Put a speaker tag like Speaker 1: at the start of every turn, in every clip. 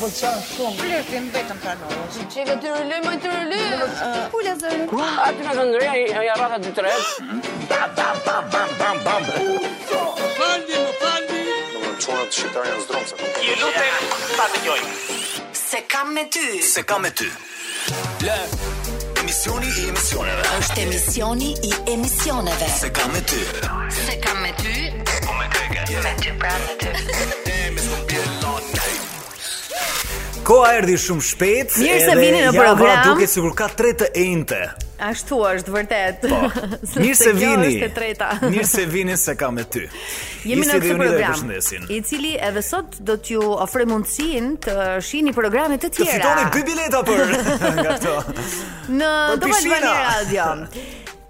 Speaker 1: pëlqen shumë.
Speaker 2: Flirtim vetëm pranoj.
Speaker 3: Çeve të rëloj, më të rëloj.
Speaker 2: Pula zërin.
Speaker 4: Ah, Aty me këndëria i- i arrata dy tre.
Speaker 5: Domethënë çunat shqiptar janë zdromsa.
Speaker 6: Ju lutem, ta dëgjoj.
Speaker 7: Se kam me ty
Speaker 8: Se kam me ty. Lë. Emisioni i emisioneve.
Speaker 7: është emisioni i emisioneve
Speaker 8: Se kam me ty.
Speaker 7: Se kam me ty
Speaker 8: Po me keke.
Speaker 7: Me ty pra me ty
Speaker 8: Damn, it's gonna be a long night.
Speaker 9: Koa erdhi shumë shpejt.
Speaker 10: Mirë se
Speaker 9: edhe
Speaker 10: vini në
Speaker 9: java
Speaker 10: program.
Speaker 9: Duket sikur ka tre të enjte.
Speaker 10: Ashtu është vërtet.
Speaker 9: Po,
Speaker 10: Po. Se-
Speaker 9: Mirë se
Speaker 10: kjo
Speaker 9: vini.
Speaker 10: është e treta.
Speaker 9: Mirë se vini se kam me ty.
Speaker 10: Jemi
Speaker 9: Isti dhe
Speaker 10: në këtë
Speaker 9: unë dhe ju
Speaker 10: program,
Speaker 9: përshëndesin.
Speaker 10: i cili edhe sot do t'ju ofroj mundësinë të shihni programe të
Speaker 9: Të fitoni
Speaker 10: tjera
Speaker 9: dy bileta për nga këto.
Speaker 10: në
Speaker 9: për
Speaker 10: Top Albania
Speaker 9: pishina.
Speaker 10: Radio.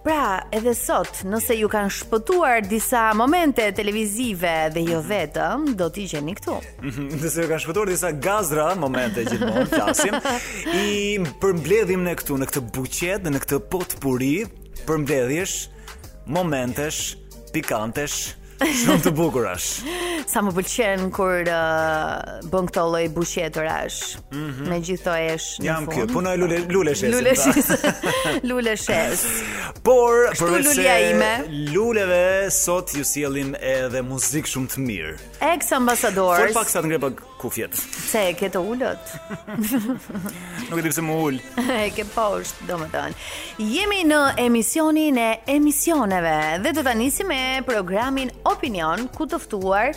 Speaker 10: Pra, edhe sot, nëse ju kanë shpëtuar disa momente televizive dhe jo vetëm, do t'i gjeni këtu.
Speaker 9: Nëse ju ka shpëtuar disa gazra momente gjithmonë flasim, i përmbledhim ne këtu në këtë buqet, në këtë potpuri përmbledhjesh momentesh pikantesh shumë të bukurash.
Speaker 10: Sa më pëlqen kur uh, bën këto lloj buqetërash me gjithë këto esh në
Speaker 9: Mhm. Jam
Speaker 10: fund.
Speaker 9: kjo, puna e lule luleshesit.
Speaker 10: Luleshes. Luleshes.
Speaker 9: Por përveç se
Speaker 10: lulia ime.
Speaker 9: Luleve sot ju sjellim edhe muzikë shumë të mirë.
Speaker 10: Ex
Speaker 9: Por
Speaker 10: ambasador.
Speaker 9: pak sa të ngre pak kufjet.
Speaker 10: Se e ke të ullët,
Speaker 9: Nuk e di pse më ul.
Speaker 4: Po,
Speaker 10: e ke poshtë, do më thënë. Jemi në emisionin e emisioneve dhe do të nisi me programin Opinion, ku të ftuar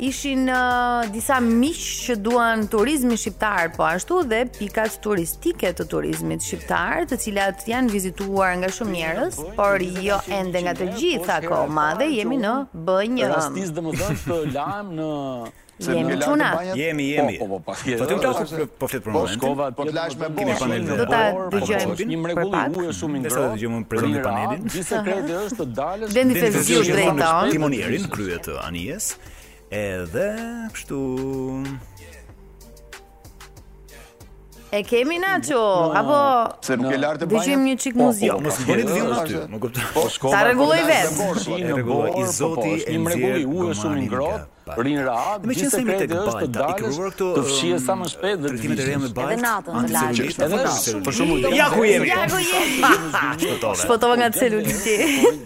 Speaker 10: ishin uh, disa miq që duan turizmin shqiptar, po ashtu dhe pikat turistike të turizmit shqiptar, të cilat janë vizituar nga shumë njerëz, por jo ende nga të gjithë akoma dhe jemi në B1.
Speaker 4: Rastis domethënë të lajm në
Speaker 10: Jemi çuna.
Speaker 9: Jemi, jemi.
Speaker 4: Po, po, po,
Speaker 9: Po ti më
Speaker 4: patjetër.
Speaker 9: flas po flet për momentin.
Speaker 4: Shkova po
Speaker 5: Jo, lash me
Speaker 4: kemi
Speaker 5: bosh.
Speaker 4: panel
Speaker 9: Do
Speaker 4: dhe
Speaker 9: ta
Speaker 4: por,
Speaker 10: dëgjojmë
Speaker 4: por, po, Një
Speaker 10: për
Speaker 4: mrekulli
Speaker 10: pak.
Speaker 4: uju është shumë i
Speaker 9: Ndërsa
Speaker 4: ngrohtë.
Speaker 9: do dëgjojmë prezantin e
Speaker 4: prira,
Speaker 9: panelin.
Speaker 4: Gjithë sekreti është të dalësh
Speaker 10: Blendi
Speaker 9: Blendi
Speaker 10: Fevziu
Speaker 9: Fevziu gjithmonë
Speaker 10: drejton.
Speaker 9: është Timonierin, kryet të anijes. Edhe kështu
Speaker 10: E kemi Nacho, apo
Speaker 5: Se nuk e lartë banjën.
Speaker 10: dëgjojmë një çik muzikë?
Speaker 9: Jo, mos bëni të vinë aty, më
Speaker 5: Po
Speaker 9: kupton.
Speaker 5: shkova.
Speaker 10: Ta
Speaker 9: po,
Speaker 10: rregulloj
Speaker 5: për lajsh
Speaker 10: vet.
Speaker 5: me bosh,
Speaker 4: Shi
Speaker 5: valla.
Speaker 4: në
Speaker 9: rregulloj,
Speaker 4: gorë,
Speaker 9: i
Speaker 4: i
Speaker 9: zoti
Speaker 4: zoti
Speaker 9: e
Speaker 4: një mrekulli
Speaker 9: nxjerr
Speaker 4: u është shumë i
Speaker 9: gomanin nga
Speaker 4: ngrohtë,
Speaker 9: pak.
Speaker 4: rin rahat,
Speaker 9: Me
Speaker 4: gjithë
Speaker 9: qenë se jemi tek
Speaker 4: sekreti është të
Speaker 9: Balta, i
Speaker 4: dalësh,
Speaker 9: këruar këto
Speaker 4: të fshihet sa më shpejt dhe të
Speaker 9: Tretimet e reja me
Speaker 4: vishesh.
Speaker 9: bajt. po
Speaker 3: Edhe natën të lajmë.
Speaker 9: anticelulitë,
Speaker 4: Edhe
Speaker 9: anticelulitë.
Speaker 4: natën.
Speaker 9: Për shembull, ja ku jemi.
Speaker 10: Ja ku jemi.
Speaker 9: Shpëtove.
Speaker 10: Shpëtova nga celuliti.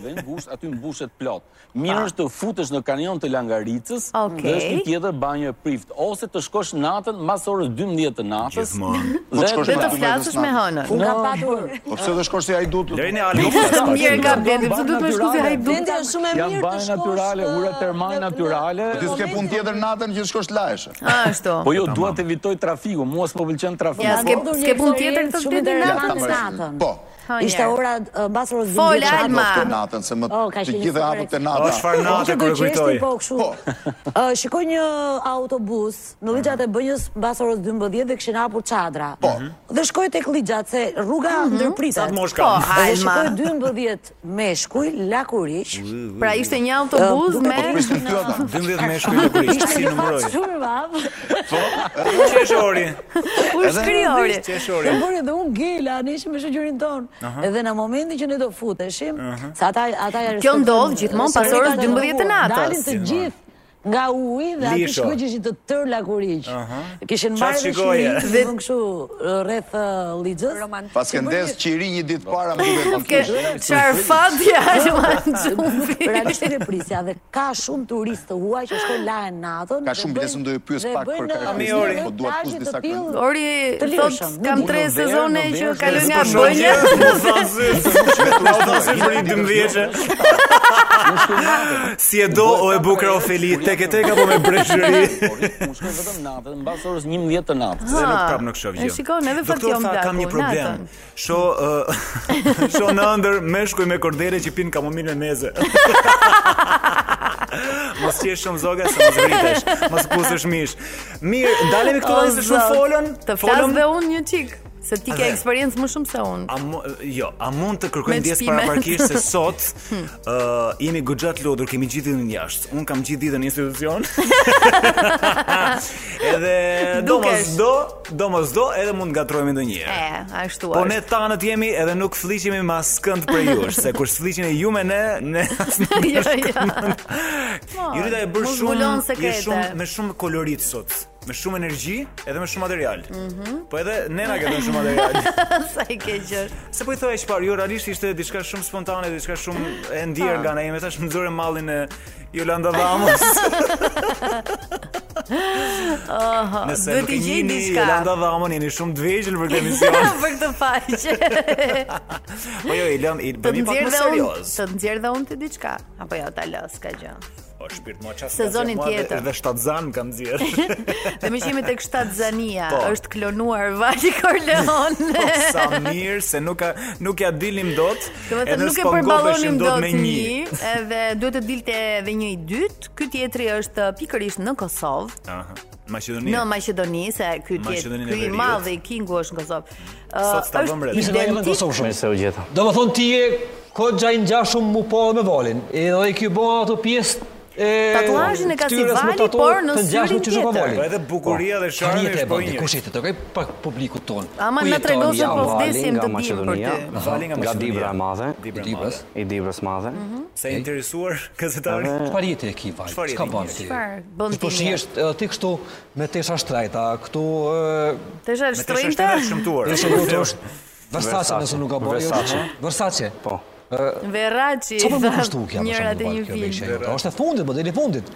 Speaker 4: Dhe ngushtë, aty mbushet plot. Mirë është të futesh në kanion të Langaricës
Speaker 10: Okej.
Speaker 4: dhe është një tjetër banjë e prift ose të shkosh natën mas orës 12 të natës.
Speaker 9: Gjithmonë.
Speaker 5: Po të shkosh
Speaker 10: Dhe të
Speaker 5: natën.
Speaker 10: flasësh me hënën.
Speaker 3: Unë kam patur.
Speaker 5: Po pse do shkosh si ai dutu?
Speaker 9: Lërini Alon.
Speaker 10: Mirë ka Blendi, pse duhet më shku si
Speaker 3: Blendi
Speaker 10: hajduk?
Speaker 3: është shumë e mirë
Speaker 4: Janë banjë natyrale, ure termale natyrale.
Speaker 5: Ti s'ke punë tjetër natën që shkosh lajsh.
Speaker 10: Ashtu.
Speaker 4: Po jo, dua të evitoj trafiku, mua s'po pëlqen trafiku.
Speaker 10: Ja, s'ke
Speaker 4: Po,
Speaker 10: s'ke punë tjetër këtë
Speaker 3: Shumë
Speaker 10: ditë
Speaker 3: e
Speaker 10: natën.
Speaker 3: natën. natën.
Speaker 5: Po.
Speaker 10: Ha,
Speaker 3: Ishte
Speaker 10: njerë.
Speaker 3: ora uh, mbas orës 12.
Speaker 10: Fol,
Speaker 3: që
Speaker 10: Alma.
Speaker 3: hapet.
Speaker 5: Të natën se më
Speaker 3: Oh, ka
Speaker 5: të
Speaker 3: qenë
Speaker 5: gjithë
Speaker 3: një
Speaker 5: hapet të
Speaker 9: O
Speaker 5: nata.
Speaker 9: çfarë nate
Speaker 3: Që
Speaker 9: kur
Speaker 3: do
Speaker 9: e kujtoj.
Speaker 3: qeshti, Po, kështu. Ë, shikoj një autobus në ligjat e bënjës mbas orës 12 dhe kishin hapur çadra. Po. Dhe shkoj tek ligjat se rruga ndërpritet.
Speaker 9: Sa të mosh
Speaker 10: Po,
Speaker 9: kam.
Speaker 3: Dhe
Speaker 10: Alma.
Speaker 3: shikoj
Speaker 5: Po,
Speaker 3: 12 meshkuj, lakurish.
Speaker 10: Pra ishte një
Speaker 5: po,
Speaker 10: autobuz
Speaker 3: Ë,
Speaker 10: me
Speaker 3: duket-
Speaker 5: Pristin ty ata.
Speaker 9: 12 me shkruaj kurisht, si
Speaker 3: një fakt
Speaker 9: numëroj.
Speaker 3: shumë i madh.
Speaker 9: Qeshori.
Speaker 10: u shkriori.
Speaker 9: Qeshori.
Speaker 3: Dhe bëri dhe unë gela, ne ishim me shoqërinë tonë. Edhe në momentin që ne do futeshim, se ata ata ja
Speaker 10: Kjo
Speaker 3: respektojnë-
Speaker 10: ndodh gjithmonë pas
Speaker 3: Sekurita
Speaker 10: orës
Speaker 3: e
Speaker 10: 12 të natës.
Speaker 3: Dalin të gjithë nga uji dhe aty
Speaker 9: Lisho.
Speaker 3: shkoj që ishin të tër lakuriq. Kishin
Speaker 9: Qa
Speaker 3: marrë dhe
Speaker 9: shikoje?
Speaker 3: shmërinë, dhe bën kështu rreth ë, ligjës.
Speaker 5: Pas ke ndes qiri një ditë para më po duhet të
Speaker 10: Ke
Speaker 5: fush.
Speaker 10: çarfatja Alman Xhufi.
Speaker 3: Po, Realisht e prisja dhe ka shumë turistë të huaj që shkojnë lahen natën.
Speaker 5: Ka shumë binesë do ju pyes pak për
Speaker 9: Ori.
Speaker 5: karakteristikat, po duat pus disa këngë.
Speaker 10: Ori
Speaker 3: Të
Speaker 10: thot
Speaker 3: lirshëm,
Speaker 10: kam
Speaker 3: nuk
Speaker 10: tre
Speaker 4: në verë,
Speaker 10: sezone
Speaker 4: në
Speaker 10: që
Speaker 4: verë,
Speaker 10: kaloj
Speaker 4: s'po
Speaker 10: nga
Speaker 4: shoh
Speaker 10: bënja.
Speaker 9: Au dose për i 12-she. Si e do o e bukur Ofeli, tek e tek apo po me breshëri?
Speaker 4: Unë shkoj vetëm natën, mbas orës 11 të natës.
Speaker 9: Se nuk
Speaker 10: Ha,
Speaker 9: prap nuk shoh gjë.
Speaker 10: e shikon, edhe
Speaker 9: Doktor
Speaker 10: Fatjon
Speaker 9: tha,
Speaker 10: Blaku,
Speaker 9: Kam një problem.
Speaker 10: natën."
Speaker 9: Sho ë, sho në ëndër meshkuj me kordele që pin kamomil me meze. Mos qesh shumë zoga se mos vritesh, mos pusësh mish. Mirë, dalemi këtu
Speaker 10: O,
Speaker 9: tani se shumë
Speaker 10: zot.
Speaker 9: folën.
Speaker 10: Të flas
Speaker 9: folëm.
Speaker 10: dhe unë një çik, se ti ke
Speaker 9: Atëherë.
Speaker 10: eksperiencë më shumë se unë.
Speaker 9: A mu, jo, a mund të kërkoj
Speaker 10: Me Hmm.
Speaker 9: ndjes
Speaker 10: çpime.
Speaker 9: para parkisht se sot ë jemi goxha të lodhur, kemi gjithë ditën jashtë. Un kam gjithë ditën në institucion. edhe
Speaker 10: Dukesh.
Speaker 9: domosdo, domosdo edhe mund ngatrohemi ndonjëherë.
Speaker 10: E, ashtu
Speaker 9: Po ne
Speaker 10: është.
Speaker 9: tanët jemi edhe nuk fliqemi ma skënd për jush, se kur fliqeni ju me ne, ne as nuk
Speaker 10: Jo, jo.
Speaker 9: Jurita e bërë
Speaker 10: Po, mos
Speaker 9: shumë,
Speaker 10: mbulon
Speaker 9: je
Speaker 10: sekrete.
Speaker 9: shumë me shumë kolorit sot. me shumë energji edhe me shumë material.
Speaker 10: Mhm.
Speaker 9: Po edhe Nena ka dhënë shumë material.
Speaker 10: Sa i keq është.
Speaker 9: Se po i thoya çfarë, jo realisht ishte diçka shumë spontane, diçka shumë e
Speaker 10: Po.
Speaker 9: ndier nga ana ime, tash më nxorën mallin e Jolanda Vamos. Nëse
Speaker 10: duhet
Speaker 9: nuk
Speaker 10: i
Speaker 9: e
Speaker 10: gjej
Speaker 9: njihni
Speaker 10: diçka.
Speaker 9: Jolanda Vamos jeni shumë të vegjël për këtë emision.
Speaker 10: për këtë faqe.
Speaker 9: Po jo, i lëm, i
Speaker 10: Të
Speaker 9: bëni pak
Speaker 10: nxjerr
Speaker 9: më
Speaker 10: dhe unë,
Speaker 9: serioz.
Speaker 10: të nxjerr dhe unë ti diçka. Apo jo, ta lë, s'ka gjë.
Speaker 9: O shpirt mua çfarë.
Speaker 10: Sezonin tjetër.
Speaker 9: Edhe shtatzan kam nxjerr.
Speaker 10: Dhe me qemi tek Shtatzania,
Speaker 9: Po.
Speaker 10: është klonuar Vali Corleone.
Speaker 9: Sa mirë se nuk ka nuk ja dilim dot.
Speaker 10: Do të
Speaker 9: edhe
Speaker 10: thënë nuk e
Speaker 9: s'po
Speaker 10: përballonim
Speaker 9: ngopeshim
Speaker 10: dot
Speaker 9: me
Speaker 10: një, edhe duhet të dilte edhe një i dytë. Ky tjetri është pikërisht në Kosovë,
Speaker 9: Aha. Maqedoni.
Speaker 10: në Maqedoni, se ky tjetri,
Speaker 9: Maqedoninë e
Speaker 10: ky i
Speaker 9: Veriut.
Speaker 10: madh i Kingu është në Kosovë.
Speaker 9: Sot s'ta vëmë re.
Speaker 10: është
Speaker 1: Ishte në
Speaker 10: identik
Speaker 1: Kosovë shumë.
Speaker 2: se u gjeta.
Speaker 1: Do më thonë ti e ko gjaj në gjashum mu po dhe me valin. E dhe i kjo bo ato pjesë e...
Speaker 10: Tatuazhin e ka si
Speaker 1: ftyrës me
Speaker 10: Vali,
Speaker 1: tatu
Speaker 10: por në
Speaker 1: të ngjashme
Speaker 10: syrin
Speaker 1: që shoh pa
Speaker 10: tjetër.
Speaker 1: valin.
Speaker 9: Po edhe bukuria dhe charmi
Speaker 1: tani e
Speaker 9: është
Speaker 1: ke
Speaker 9: po
Speaker 1: Vali,
Speaker 9: një.
Speaker 1: Kush jetë të kaj pak publikut ton.
Speaker 10: Ama na
Speaker 1: Ku jeton,
Speaker 10: tregose
Speaker 1: ja,
Speaker 10: po
Speaker 1: Vali?
Speaker 2: Vali
Speaker 10: vdesim
Speaker 2: nga
Speaker 10: të dim për
Speaker 2: Maqedonia.
Speaker 10: ty.
Speaker 9: Vali nga
Speaker 2: Nga
Speaker 9: Maqedonia.
Speaker 2: Dibra e madhe,
Speaker 9: Dibra e
Speaker 1: Dibras.
Speaker 9: madhe.
Speaker 2: i Dibrës madhe.
Speaker 9: Se interesuar gazetari.
Speaker 1: Çfarë jeti e ki Vali?
Speaker 9: Çfarë
Speaker 1: Çka
Speaker 9: jeti
Speaker 1: bën
Speaker 9: një?
Speaker 1: ti?
Speaker 10: Çfarë bën ti
Speaker 1: Po
Speaker 10: një?
Speaker 1: shihesh edhe ti kështu me tesha shtrejta, këtu e,
Speaker 10: Të shë
Speaker 9: Me të
Speaker 10: shtrejtë,
Speaker 9: shështërat shëmtuar.
Speaker 1: Dhe shëmtuar të është Versace
Speaker 2: Versace,
Speaker 1: nëse nuk ka bërë jo,
Speaker 2: Versace.
Speaker 1: Versace
Speaker 2: Po.
Speaker 10: Verraci,
Speaker 1: Qa po më
Speaker 10: tha,
Speaker 1: kështu kja për
Speaker 10: njëra
Speaker 1: shembull,
Speaker 10: dhe
Speaker 1: Val,
Speaker 10: një
Speaker 1: kjo
Speaker 10: film.
Speaker 1: veshje jote. është e fundit, modeli i fundit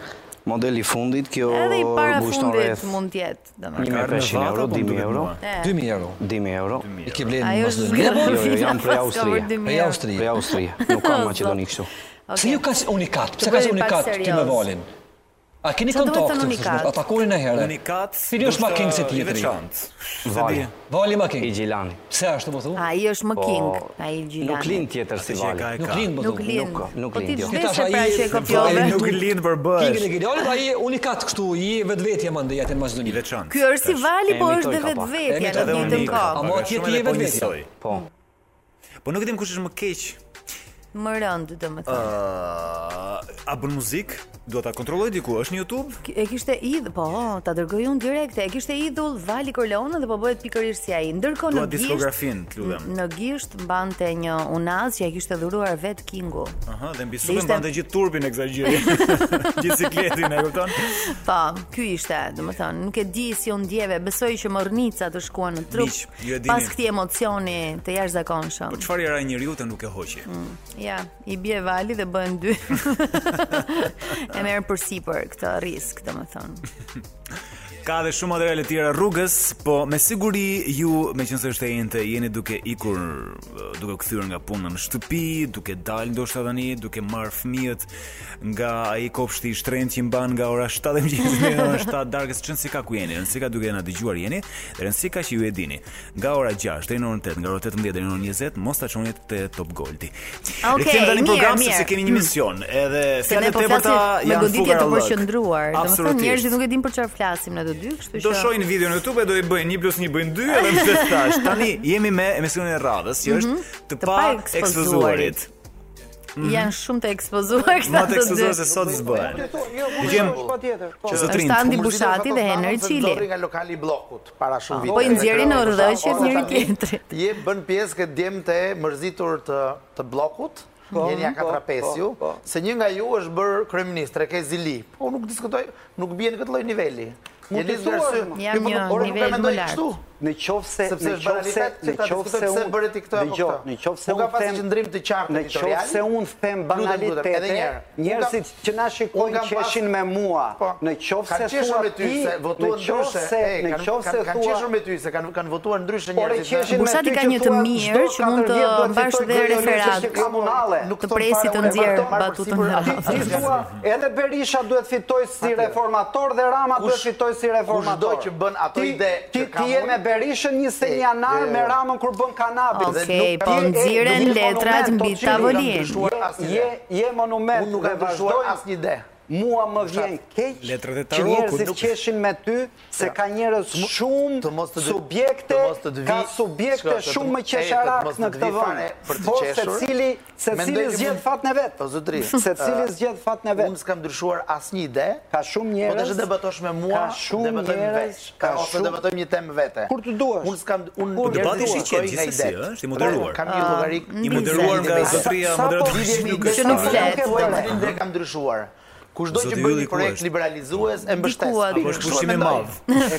Speaker 2: Modeli i fundit kjo
Speaker 3: Mhm.
Speaker 10: Edhe i para
Speaker 2: bushton
Speaker 10: fundit
Speaker 2: rreth
Speaker 10: mund tjetë, domethënë.
Speaker 2: 1500 euro, 2000 euro,
Speaker 1: 2000 euro
Speaker 2: 2000 euro.
Speaker 1: I ke blenë
Speaker 10: Ajo
Speaker 1: në
Speaker 10: është
Speaker 1: Mazdë
Speaker 2: Jo, jo,
Speaker 10: zgërbia,
Speaker 2: jam prej
Speaker 10: pas ka
Speaker 2: Austria.
Speaker 10: vërë 2000
Speaker 1: Prej
Speaker 10: euro.
Speaker 1: Austri
Speaker 2: Prej Austri, nuk ka Maqedoni kështu.
Speaker 1: Pse ju ka si unikat? Pse
Speaker 10: bëjmë
Speaker 1: ka si
Speaker 10: pak
Speaker 1: unikat ti me
Speaker 10: serioz.
Speaker 1: valin? A keni
Speaker 10: Çfarë do të
Speaker 1: kontakt?
Speaker 10: thënë unikat?
Speaker 1: Atakonin Po e herë
Speaker 9: Unikat.
Speaker 1: Cili është ma king se
Speaker 9: ndoshta i
Speaker 1: tjetri?
Speaker 9: veçantë. Se
Speaker 2: Vali.
Speaker 9: di.
Speaker 1: Vali ma
Speaker 2: I
Speaker 1: king
Speaker 2: Gjilani.
Speaker 1: Pse ashtu po thu?
Speaker 10: Ai është më king, ai Gjilani.
Speaker 2: Nuk lind tjetër si
Speaker 9: Ti që e ka
Speaker 2: Vali.
Speaker 9: e
Speaker 1: Nuk
Speaker 9: ka.
Speaker 1: lind po
Speaker 10: Nuk
Speaker 1: thu
Speaker 10: lind.
Speaker 2: nuk- nuk
Speaker 10: Po ti
Speaker 2: lind, jo.
Speaker 10: zbeshe pra
Speaker 1: ai-
Speaker 10: që e
Speaker 9: Vali
Speaker 10: kopjove.
Speaker 9: nuk lind për
Speaker 1: Kingin
Speaker 9: bësh.
Speaker 1: e Gjilalit, ai unikat kështu, i vetvetja mandej atë në
Speaker 9: I
Speaker 1: Maqedoni.
Speaker 9: veçantë.
Speaker 10: Ky është si Vali, po është dhe vetvetja në
Speaker 1: Edhe
Speaker 9: unë
Speaker 10: ditën
Speaker 9: i-
Speaker 1: A
Speaker 10: kohë.
Speaker 1: mo
Speaker 9: Pak
Speaker 1: atje
Speaker 9: shumë
Speaker 1: ti
Speaker 9: edhe
Speaker 1: je
Speaker 9: po
Speaker 1: vetvetja?
Speaker 9: njësoj.
Speaker 2: Po.
Speaker 9: Po nuk e dim kush është më keq.
Speaker 10: Më rënd, domethënë.
Speaker 9: Ë, a bën muzikë? Dua ta kontrolloj diku, është në YouTube?
Speaker 10: E kishte idh, po, ta dërgoj unë direkte. E kishte idhull Vali Corleone dhe po bëhet pikërisht si ai. Ndërkohë
Speaker 9: Dua
Speaker 10: në Gisht,
Speaker 9: diskografinë, të lutem.
Speaker 10: në Gisht mbante një unaz që e kishte dhuruar vet Kingu.
Speaker 9: Aha, dhe mbi
Speaker 10: Dhe
Speaker 9: supën
Speaker 10: ishte-
Speaker 9: bante gjithë turpin e kësaj gjëje. gjithë cikletin, e kupton?
Speaker 10: Po, ky ishte, domethënë, nuk e di si u ndjeve. Besoj që mornica të shkuan në trup.
Speaker 9: Miq, ju e dini.
Speaker 10: pas këtij emocioni të jashtëzakonshëm.
Speaker 9: Po çfarë era njeriu të nuk e hoqi?
Speaker 10: Ja, i bie vali dhe bëhen dy. e merr përsipër këtë risk, domethënë.
Speaker 9: Ka dhe shumë materiale tjera rrugës, po me siguri ju, me qënë se është e jente, jeni duke ikur, eh, duke këthyrë nga punë në shtëpi, duke dalë ndoshta tani, duke marrë fëmijët nga ai kopshti i shtrenjtë që mban nga ora 7 e mëngjesit deri në orën 7 darkës, çon si ka ku jeni, nëse ka duke na dëgjuar jeni, dhe nëse ka që ju e dini. Nga ora 6 deri në orën 8, nga ora 18 deri në orën 20, mos ta çoni te Top Goldi.
Speaker 10: Okej,
Speaker 9: Rikthehemi tani në
Speaker 10: mirë,
Speaker 9: program
Speaker 10: mirë.
Speaker 9: sepse keni një mision, edhe
Speaker 10: Se ne
Speaker 9: fjalët e
Speaker 10: po
Speaker 9: tepërta
Speaker 10: flasim me
Speaker 9: janë
Speaker 10: goditje
Speaker 9: fugar
Speaker 10: të
Speaker 9: allak.
Speaker 10: përqendruar. Domethënë
Speaker 9: Absolutisht.
Speaker 10: njerëzit nuk e din për çfarë flasim ne të dy, kështu që
Speaker 9: Do shohin videon në YouTube e do i bëjnë 1 plus 1 bëjnë 2 edhe pse thash. Tani jemi me emisionin e radhës, që është Mhm. të
Speaker 10: Të
Speaker 9: pa
Speaker 10: pa
Speaker 9: ekspozuarit.
Speaker 10: janë shumë të ekspozuar
Speaker 9: Ma të Jo,
Speaker 10: këta të dy.
Speaker 9: ekspozuar se sot s'bëhen. Dëgjojmë që zotrin.
Speaker 10: Është Andi Bushati dhe Henri Çili.
Speaker 11: nga lokali i bllokut para shumë
Speaker 10: Po i nxjerrin në rrëqet njëri tjetrit.
Speaker 11: Je bën pjesë këtë djemë të mërzitur të, të blokut, jeni a katra pesju, se një nga ju është bërë kryeministre, ke zili. Po unë nuk diskutoj, nuk bie në këtë lloj niveli. Jeni zgjarsy.
Speaker 10: Jam një nivel më lart.
Speaker 11: Në qoftë se
Speaker 2: në qoftë se- në qoftë se
Speaker 11: se
Speaker 2: unë-
Speaker 11: bëri ti këtë apo
Speaker 2: dëgjoj,
Speaker 11: këtë.
Speaker 2: në qoftë se
Speaker 11: Unë ka
Speaker 2: unë
Speaker 11: pasur
Speaker 2: them-
Speaker 11: qëndrim të qartë
Speaker 2: Në qoftë se unë them banalitete, njerëzit që na shikojnë qeshin me mua,
Speaker 11: po,
Speaker 2: në qoftë se thua
Speaker 11: ti,
Speaker 2: ti,
Speaker 11: se
Speaker 2: në
Speaker 11: votuan
Speaker 2: qoftë
Speaker 11: ndryshe,
Speaker 2: se-
Speaker 11: e,
Speaker 2: në
Speaker 11: kanë-
Speaker 2: qoftë se
Speaker 11: kanë- kanë
Speaker 2: thua-
Speaker 11: qeshur me ty se kanë kanë votuar ndryshe
Speaker 2: Ore,
Speaker 11: njerëzit. ha?
Speaker 2: qeshin me
Speaker 10: Bushati
Speaker 2: ty
Speaker 10: ka
Speaker 2: që
Speaker 10: një të
Speaker 2: thua,
Speaker 10: mirë
Speaker 2: çdo
Speaker 10: që mund
Speaker 11: 14
Speaker 10: të
Speaker 11: vjet duhet
Speaker 10: mbash
Speaker 11: fitoj
Speaker 10: dhe
Speaker 11: Gojën,
Speaker 10: referat
Speaker 11: është komunale.
Speaker 2: Nuk
Speaker 10: të
Speaker 11: kupton
Speaker 10: presit
Speaker 11: fare,
Speaker 10: të
Speaker 11: unë e
Speaker 10: nxjerr
Speaker 11: marr për
Speaker 10: batutën
Speaker 11: sipër,
Speaker 10: e
Speaker 11: ti-
Speaker 2: Ti
Speaker 10: radhës.
Speaker 2: thua, edhe Berisha duhet fitoj si reformator dhe Rama duhet fitoj si reformator.
Speaker 11: kushdo që bën ato
Speaker 2: Ti-
Speaker 11: ide
Speaker 2: Ti
Speaker 11: që
Speaker 2: ti
Speaker 11: kam
Speaker 2: je
Speaker 11: unë,
Speaker 2: me Berishën një se
Speaker 11: e-
Speaker 2: janar
Speaker 11: e-
Speaker 2: me Ramën kur bën kanapin.
Speaker 10: Okej,
Speaker 2: Dhe nuk-
Speaker 10: po
Speaker 2: je- e-
Speaker 10: nxiren
Speaker 2: nuk je
Speaker 10: letrat
Speaker 2: monument,
Speaker 10: mbi
Speaker 2: Toçi,
Speaker 10: tavolin.
Speaker 2: nuk kam dëshuar asnjë. Je je monument.
Speaker 11: Unë nuk
Speaker 2: dhe
Speaker 11: kam dëshuar
Speaker 2: vazhdoj-
Speaker 11: asnjë ide.
Speaker 2: Mua më vjen keq
Speaker 9: Letrat
Speaker 2: që
Speaker 9: e tarokut,
Speaker 2: njerëzit
Speaker 9: nuk-
Speaker 2: qeshin me ty se ka njerëz shumë
Speaker 11: Pra, të mos të dë-
Speaker 2: subjekte,
Speaker 11: të mos të dëvi,
Speaker 2: ka subjekte
Speaker 11: shko, të-
Speaker 2: shumë më
Speaker 11: e, të
Speaker 2: qesharak
Speaker 11: mos të
Speaker 2: në këtë
Speaker 11: dëvi
Speaker 2: vend.
Speaker 11: fare për të
Speaker 2: Po
Speaker 11: qeshur.
Speaker 2: secili secili
Speaker 11: Mendoj që
Speaker 2: zgjedh
Speaker 11: mund-
Speaker 2: fat në vet.
Speaker 11: Po, zotri,
Speaker 2: Secili
Speaker 11: ë,
Speaker 2: zgjedh fat në vet.
Speaker 11: Unë s'kam ndryshuar asnjë ide.
Speaker 2: Ka shumë njerëz.
Speaker 11: Po tash debatosh me mua,
Speaker 2: ka shumë
Speaker 11: debatojmë
Speaker 2: njerëz,
Speaker 11: veç,
Speaker 2: ka
Speaker 11: ka ose
Speaker 2: shumë-
Speaker 11: debatojmë një temë vete.
Speaker 2: Kur të duash.
Speaker 11: Unë s'kam unë
Speaker 2: Kur Ah. të
Speaker 9: Debati
Speaker 2: duash.
Speaker 9: është i qetë Pra, gjithsesi, ë, është i moderuar.
Speaker 11: Kam një llogarik
Speaker 10: i
Speaker 9: I moderuar nga
Speaker 11: Sa-
Speaker 9: zotria
Speaker 2: sa po
Speaker 9: moderatorisht
Speaker 2: vjen
Speaker 9: nuk
Speaker 2: ide,
Speaker 9: është.
Speaker 10: Që nuk
Speaker 2: sa po
Speaker 10: flet.
Speaker 2: ke
Speaker 11: Kam
Speaker 2: vënë.
Speaker 11: ide kam ndryshuar. Kushdo që bën një projekt liberalizues e mbështes.
Speaker 8: Po
Speaker 9: Apo është pushim i madh.
Speaker 2: E kuptoj,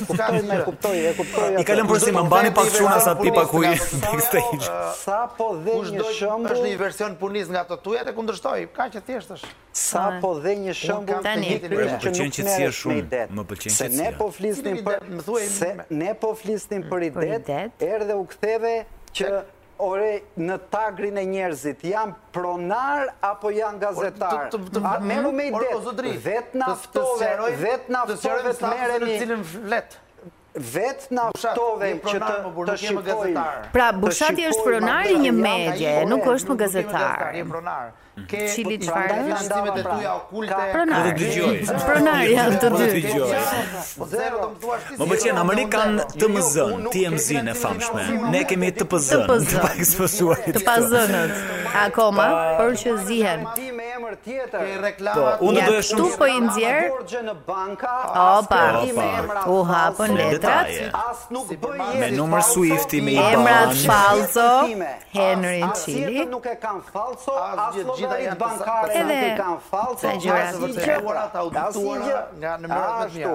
Speaker 2: e kuptoj, e kuptoj.
Speaker 9: I kalon për si më mbani pak çuna sa pipa ku i backstage.
Speaker 2: Sa po dhe
Speaker 11: një shembull. Është një version punis nga ato tuja e kundërshtoj. Kaq e thjesht është.
Speaker 2: Sa po dhe një shembull të një
Speaker 9: Më pëlqen qetësia shumë. Më pëlqen
Speaker 2: qetësia. Se ne po flisnim për më thuaj se ne po flisnim për idet, erdhe u ktheve që ore në tagrin e njerëzit, janë pronar apo janë gazetar? A
Speaker 12: Hmm?
Speaker 2: meru me i det, vetë naftove, vetë naftove të meremi...
Speaker 11: Të cilën flet?
Speaker 2: Vetë naftove që të, të shikojmë.
Speaker 10: Pra, Bushati është pronari një medje, nuk është më gazetar.
Speaker 11: Je pronar.
Speaker 10: Ke
Speaker 12: po-
Speaker 10: çili
Speaker 12: pra,
Speaker 10: çfarë
Speaker 11: investimet e tua okulte.
Speaker 10: Pronar. Pronar janë të dy.
Speaker 12: Po
Speaker 11: Zero do të thuash ti.
Speaker 9: Po Më pëlqen Amerikan TMZ-n, TMZ-n e famshme. Ne kemi TPZ-n, të pak ekspozuar.
Speaker 10: Të pazënët. Akoma, por që zihen.
Speaker 2: Me emër tjetër. Ke
Speaker 11: reklama.
Speaker 9: Unë doja shumë.
Speaker 10: Tu po i nxjerr.
Speaker 2: Në banka.
Speaker 10: Opa. U hapën letrat.
Speaker 2: As nuk bëj
Speaker 9: Me numër Swifti me IBAN.
Speaker 10: Emrat falso. Henry Chili.
Speaker 2: Nuk e kanë falso. As gjitha janë bankare
Speaker 10: edhe
Speaker 2: kanë falso
Speaker 10: gjëra të
Speaker 11: vërtetuara të audituara nga numërat më të mia.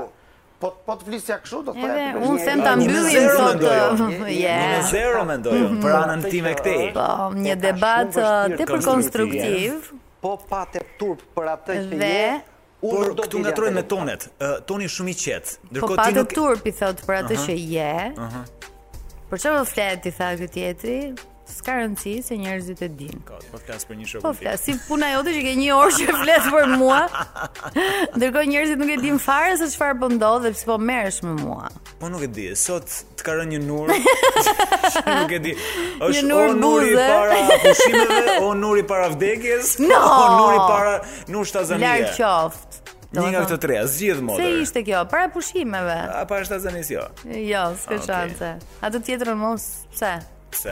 Speaker 11: Po po të flisja kështu do të thotë.
Speaker 10: Edhe unë them ta mbyllim sot.
Speaker 9: Ja. Në zero mendoj për anën time këtej.
Speaker 10: Po, një debat tepër konstruktiv.
Speaker 2: Po pa të turp për Pra atë që je. Po,
Speaker 9: Por këtu ngatrojnë me tonet. Toni shumë i qetë.
Speaker 10: Ndërkohë ti nuk Po pa të turp i thot për atë që je. Ëh. Për çfarë flet ti tha ky tjetri? s'ka rëndësi se njerëzit e dinë.
Speaker 9: Po flas për një shokun.
Speaker 10: Po flas, si puna jote që ke një orë që flet për mua. Ndërkohë njerëzit nuk e dinë fare se çfarë po ndodh dhe pse po merresh me mua.
Speaker 9: Po nuk e di, sot të ka rënë një nur. nuk e di.
Speaker 10: Është një nur buze.
Speaker 9: para pushimeve, o nuri para vdekjes,
Speaker 10: no!
Speaker 9: o nuri para nur shtazanie.
Speaker 10: Larg qoftë.
Speaker 9: Një nga këto tre, zgjidh modër.
Speaker 10: Se ishte kjo, para pushimeve.
Speaker 9: A para shtazanis jo.
Speaker 10: Jo, s'ka shanse. Okay. Atë tjetrën mos, pse?
Speaker 9: pse.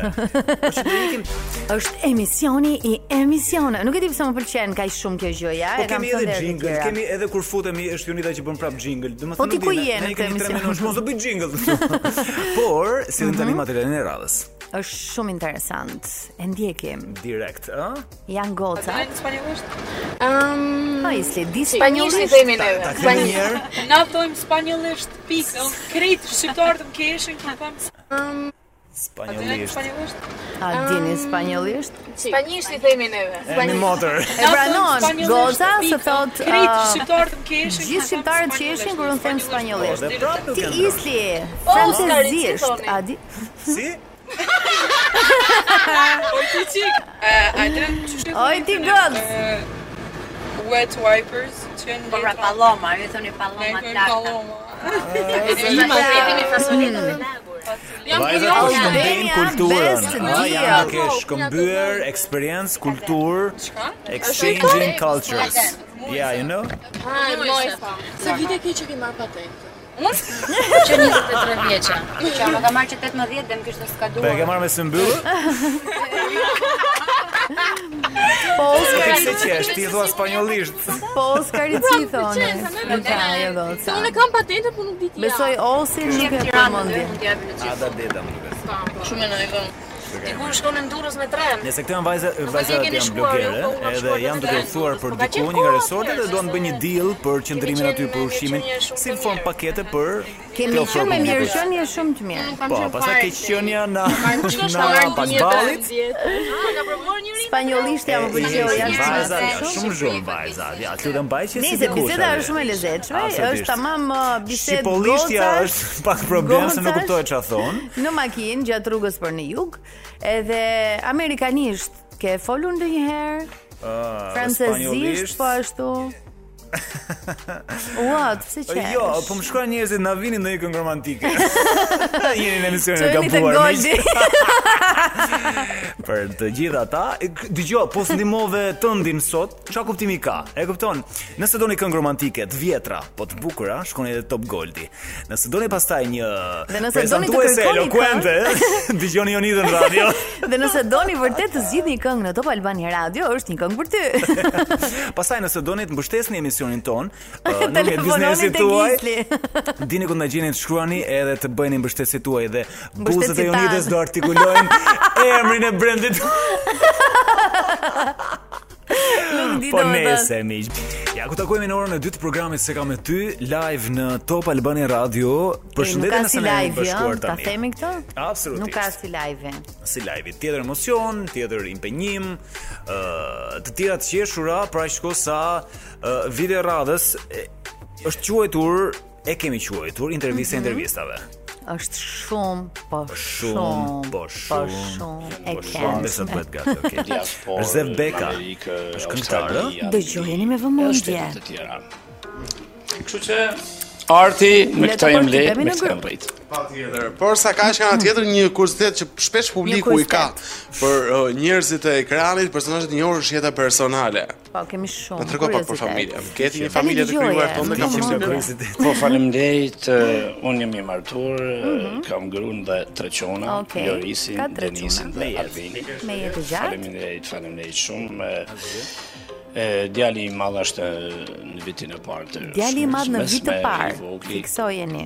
Speaker 10: Është emisioni i emisione. Nuk e di pse më pëlqen kaq shumë kjo gjë, ja.
Speaker 9: Po kemi edhe jingle, kemi edhe kur futemi është Jonida që bën prap jingle. Domethënë
Speaker 10: Po ti ku je në këtë
Speaker 9: emision? Mos do bëj jingle. Por si tani
Speaker 10: Mhm.
Speaker 9: mm -hmm. materialin e radhës.
Speaker 10: Është shumë interesant. E ndjekim.
Speaker 9: Direkt, ë?
Speaker 10: Jan goca.
Speaker 13: Spanjollisht? Ëm,
Speaker 10: po i sledi
Speaker 13: spanjollisht themi ne.
Speaker 9: Spanjollisht.
Speaker 13: Na thojmë spanjollisht pikë. Krejt shqiptarët më keshin kur them.
Speaker 10: Ehm,
Speaker 13: Ëm,
Speaker 9: Spanjollisht.
Speaker 10: A dini
Speaker 13: Ehm,
Speaker 10: spanjollisht?
Speaker 13: Spanjisht i themi neve.
Speaker 9: Në motor.
Speaker 10: E pranon goza se thot uh,
Speaker 13: krejt shqiptarët më keshin.
Speaker 10: Gjithë shqiptarët që ishin kur un them spanjollisht. Ti isli
Speaker 13: Oh,
Speaker 10: francezisht, a di?
Speaker 9: Si?
Speaker 13: Oj ti çik. Atë çështë.
Speaker 10: Oj ti god.
Speaker 13: Wet wipers, çën.
Speaker 14: Po pra palloma, ju thoni palloma
Speaker 13: lakta. Palloma.
Speaker 14: Ne jemi fasonit me lagu.
Speaker 9: Vajza po shkëmbin kulturën. Ai janë ke shkëmbyer eksperiencë, kulturë, exchanging cultures. Yeah, you know?
Speaker 13: Ha, mojsa. Ah, Se vite ke që ke marrë patentë.
Speaker 14: Unë që 23 vjeqa. Që më ka marrë që 18 dhe më kishte skaduar.
Speaker 9: Po e ke marrë me sëmbyllë?
Speaker 10: Po Oskari
Speaker 9: se që është, ti thua spanjollisht.
Speaker 10: Po Oskari
Speaker 13: Pra,
Speaker 10: si thonë. jo,
Speaker 13: Unë kam patentë, po nuk di ti.
Speaker 10: Besoj Osin nuk e përmendje.
Speaker 9: A da deta më duket.
Speaker 14: Shumë në e Dikur shkon në Durrës me tren.
Speaker 9: Nëse këto janë vajza vajza që janë
Speaker 14: jo, po,
Speaker 9: blokere, edhe janë duke thuar për diku një nga resortet dhe duan të bëjnë një deal për qëndrimin aty për ushimin, si në formë pakete për
Speaker 10: Kemi qenë me mirëqenie shumë të mirë.
Speaker 9: Po, pastaj keqënia na na patballit.
Speaker 13: Ha, Ah, ka provuar njëri.
Speaker 10: Spanjollisht jam pëlqeu, janë
Speaker 9: vajza, shumë shumë vajza. Ja, ti do mbajqe si
Speaker 10: dikur. Nëse biseda është shumë e lezetshme, është tamam uh, bisedë.
Speaker 9: Shipollishtja është pak problem se nuk kuptohet çfarë thon.
Speaker 10: Në makinë gjatë rrugës për në jug, edhe amerikanisht ke folur ndonjëherë? Uh,
Speaker 9: Ah,
Speaker 10: Francezisht po ashtu. What? Pse që?
Speaker 9: Jo, po më shkruan njerëzit na vinin në një këngë romantike. Jeni në emisionin e gabuar. Për të gjithë ata, dëgjoj, po ndihmove tëndin sot, çka kuptimi ka? E kupton? Nëse doni këngë romantike të vjetra, po të bukura, shkoni edhe Top Goldi. Nëse doni pastaj një
Speaker 10: Dhe nëse doni të kërkoni
Speaker 9: elokuente, dëgjoni Jonidën Radio.
Speaker 10: Dhe nëse doni vërtet të zgjidhni këngë në Top Albania Radio, është një këngë për ty.
Speaker 9: pastaj nëse doni të mbështesni emisionin emisionin ton, uh, nuk e biznesit tuaj. Dini ku na gjeni të shkruani edhe të bëni mbështetësit tuaj dhe buzët e Unides do artikulojnë emrin e brendit.
Speaker 10: Nuk di
Speaker 9: po nese Po miq. Ja Ja, ku takojmë në orën e dytë të programit se kam me ty live në Top Albania Radio. Përshëndetje
Speaker 10: nëse
Speaker 9: ne
Speaker 10: jemi
Speaker 9: bashkuar
Speaker 10: Ta
Speaker 9: tani.
Speaker 10: themi këtë?
Speaker 9: Absolutisht.
Speaker 10: Nuk ka si live.
Speaker 9: Si live, tjetër emocion, tjetër impenjim, ë të tjera të qeshura, pra aq kohë sa uh, vite radhës e, është quajtur, e kemi quajtur intervista e
Speaker 10: Mhm.
Speaker 9: intervistave.
Speaker 10: Është shumë, po shumë,
Speaker 9: Shumë, po
Speaker 10: po
Speaker 9: shumë.
Speaker 10: shumë e
Speaker 9: Po shumë,
Speaker 10: keq.
Speaker 9: ndërsa bëhet gati, okay. Është Zev Beka. Është këngëtar, ë?
Speaker 10: Dëgjojeni me vëmendje.
Speaker 8: tjera. Kështu që arti me
Speaker 10: Le të
Speaker 8: këtë jam le,
Speaker 10: përfitemi
Speaker 8: me
Speaker 10: në
Speaker 8: këtë
Speaker 10: grup.
Speaker 8: jam rrit.
Speaker 15: Patjetër. Por sa kaq nga ana tjetër një kuriozitet që shpesh publiku
Speaker 10: Një
Speaker 15: i ka për uh, njerëzit e ekranit, personazhet e njohur është jeta personale.
Speaker 10: Po kemi shumë.
Speaker 15: Na tregon pak për
Speaker 10: kuriozitet.
Speaker 15: familjen. Keti një
Speaker 10: Tani
Speaker 15: familje të krijuar Po,
Speaker 10: dëgjoje,
Speaker 15: tonë
Speaker 10: nuk
Speaker 15: ka
Speaker 10: jam
Speaker 15: shumë
Speaker 10: marrë.
Speaker 15: kuriozitet.
Speaker 8: Po faleminderit, uh, unë jam i martuar, uh, kam gruan dhe tre çona,
Speaker 10: Okej,
Speaker 8: Lorisin,
Speaker 10: ka tre
Speaker 8: Denisin
Speaker 10: çuna.
Speaker 8: dhe Alvin.
Speaker 10: Me jetë gjatë.
Speaker 8: Faleminderit, faleminderit shumë. E, e, djali i madh është e, në vitin e parë të
Speaker 10: Djali i madh në
Speaker 8: shkollës,
Speaker 10: vit të
Speaker 8: me i
Speaker 10: parë.
Speaker 8: vogli
Speaker 10: Fiksojeni.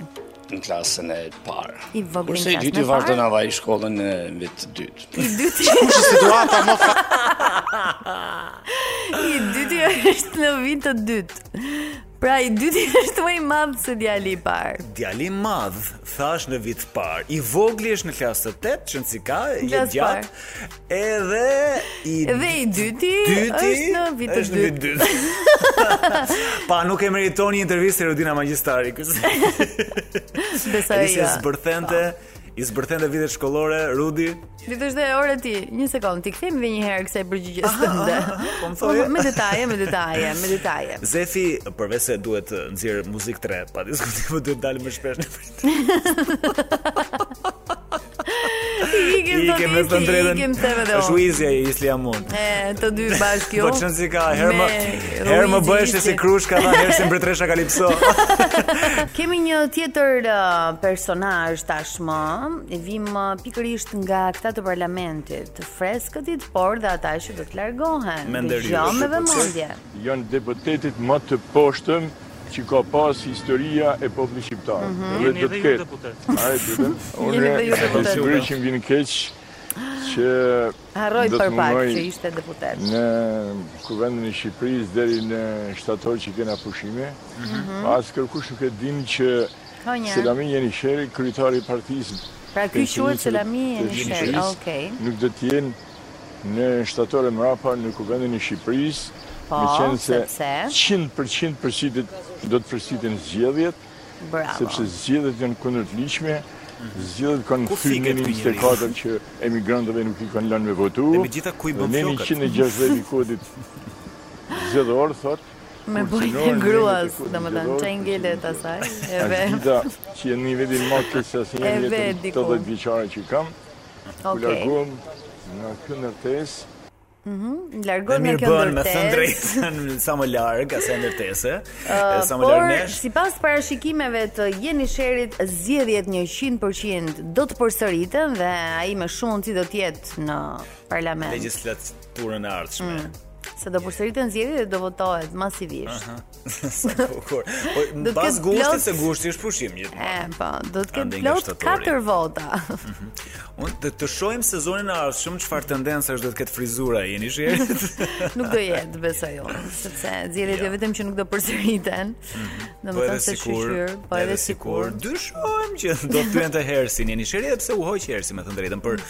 Speaker 8: në klasën e parë.
Speaker 10: I voglin
Speaker 8: Kurse i
Speaker 10: klasën
Speaker 8: dyti
Speaker 10: e
Speaker 8: vazhdon
Speaker 10: parë?
Speaker 8: ava i shkollën në vit të dytë.
Speaker 10: I dyti.
Speaker 15: Kush është situata më fa...
Speaker 10: I dyti është në vit të dytë. Pra i dyti është më i madh se djali i parë.
Speaker 9: Djali i madh thash në vit të parë. I vogli është në klasë të 8, çncika, i
Speaker 10: Klasë
Speaker 9: gjatë. Edhe i
Speaker 10: Dhe i dyti,
Speaker 9: dyti
Speaker 10: është në vit të
Speaker 9: është në vit
Speaker 10: dytë.
Speaker 9: dytë. Pa, nuk e meriton një intervistë Erudina Magjistari. Kësë
Speaker 10: Jo, Besoj
Speaker 9: Elisa
Speaker 10: jo.
Speaker 9: zbërthente, i zbërthente vitet shkollore, Rudi.
Speaker 10: Ditë është dhe ora ti. Një sekond, ti kthemi edhe një herë kësaj përgjigjes tënde.
Speaker 9: po më thoje.
Speaker 10: Me detaje, me detaje, me detaje.
Speaker 9: Zefi, përveç se duhet të nxjerr muzikë të re, pa diskutim duhet dalë më shpesh në prit.
Speaker 10: Ikem
Speaker 9: I
Speaker 10: të
Speaker 9: kem me
Speaker 10: dy,
Speaker 9: të drejtën.
Speaker 10: ikem të dhe
Speaker 9: Është
Speaker 10: unë.
Speaker 9: Uizja e Isli Amon.
Speaker 10: E, të dy bashkë jo.
Speaker 9: Po çon si ka, herë më
Speaker 10: me
Speaker 9: herë më
Speaker 10: Ruizi
Speaker 9: bëhesh si
Speaker 10: Ishi.
Speaker 9: krushka, dha herë si mbretëresha kalipso.
Speaker 10: Kemi një tjetër uh, personazh tashmë, i vim uh, pikërisht nga këta të parlamentit, të freskëtit, por dhe ata që do të largohen.
Speaker 16: Me ndërhyrje.
Speaker 10: Dëgjom me vëmendje.
Speaker 16: Janë deputetit më të poshtëm që ka pas historia e popullit shqiptar.
Speaker 10: Mhm.
Speaker 16: Dhe
Speaker 10: Jeni
Speaker 16: do
Speaker 10: dhe
Speaker 16: të
Speaker 10: ju
Speaker 16: ketë.
Speaker 10: deputet.
Speaker 16: Ai vetëm.
Speaker 10: Jeni dhe ju
Speaker 16: Unë
Speaker 10: deputet.
Speaker 16: sigurisht që më vjen keq që
Speaker 10: Harroj
Speaker 16: do të
Speaker 10: për pak
Speaker 16: mungoj
Speaker 10: që ishte deputet.
Speaker 16: në kuvendin e Shqipërisë deri në shtator që kena pushime.
Speaker 10: Mhm.
Speaker 16: As kërkush nuk e din që
Speaker 10: Ka një.
Speaker 16: Selami Jenisheri, kryetari i partisë.
Speaker 10: Pra ky
Speaker 16: pensionistë
Speaker 10: quhet Selami
Speaker 16: të
Speaker 10: Jenisheri,
Speaker 16: Shqipërisë,
Speaker 10: okej.
Speaker 16: Nuk do të jenë në shtatore mrapa në kuvendin e Shqipërisë,
Speaker 10: Po,
Speaker 16: me qenë se
Speaker 10: sepse?
Speaker 16: 100% përshqitit do të përshqitin zgjedhjet,
Speaker 10: Bravo.
Speaker 16: sepse zgjedhjet janë kundër të ligjshme, zgjedhjet kanë
Speaker 9: Ku
Speaker 16: fyrë në
Speaker 9: fiket ky
Speaker 16: 24 që emigrantëve nuk i kanë lënë me votu.
Speaker 9: Dhe megjitha ku i bën
Speaker 16: dhe neni
Speaker 9: flokat?
Speaker 16: 160 i kodit zgjedhor thot
Speaker 10: Me bojnë e gruas, domethënë, çaj ngelet asaj. E ve.
Speaker 16: Gjitha që jeni në nivelin më të keq se asnjë
Speaker 10: E ve
Speaker 16: jetën
Speaker 10: diku.
Speaker 16: 80 vjeçare që kam. U
Speaker 10: Okej.
Speaker 16: larguam nga kjo ndërtesë.
Speaker 10: Mhm,
Speaker 9: Dhe
Speaker 10: largon nga
Speaker 9: mirë
Speaker 10: kjo
Speaker 9: bën me thënë
Speaker 10: ndërtesë.
Speaker 9: drejtën, sa më larg, asaj ndërtese,
Speaker 10: Ë,
Speaker 9: sa më
Speaker 10: Uh, por
Speaker 9: larg nesh.
Speaker 10: sipas parashikimeve të Jenisherit, zgjedhjet 100% do të përsëriten dhe ai me shumëci do të jetë në parlament.
Speaker 9: Legjislaturën e ardhshme.
Speaker 10: Mm. Se do përsëriten zgjedhjet dhe do votohet masivisht.
Speaker 9: Aha. Sa bukur. Po
Speaker 10: Do të
Speaker 9: mbas
Speaker 10: ketë
Speaker 9: gushtit
Speaker 10: plot-
Speaker 9: se gushti është pushim gjithmonë.
Speaker 10: E, po, do të
Speaker 9: Ande nga
Speaker 10: ketë plot
Speaker 9: shtatori.
Speaker 10: 4 vota.
Speaker 9: Unë të, të shohim sezonin e ardhshëm çfarë tendencash do të ketë frizura jeni shërë.
Speaker 10: nuk do jetë, besoj unë, sepse zgjedhjet jo vetëm që nuk do përsëriten.
Speaker 9: Mhm. Po
Speaker 10: Domethënë se shqyr, po edhe sikur.
Speaker 9: dyshojmë që do të pyente Hersin jeni shërë sepse u hoq Hersi me thënë drejtën për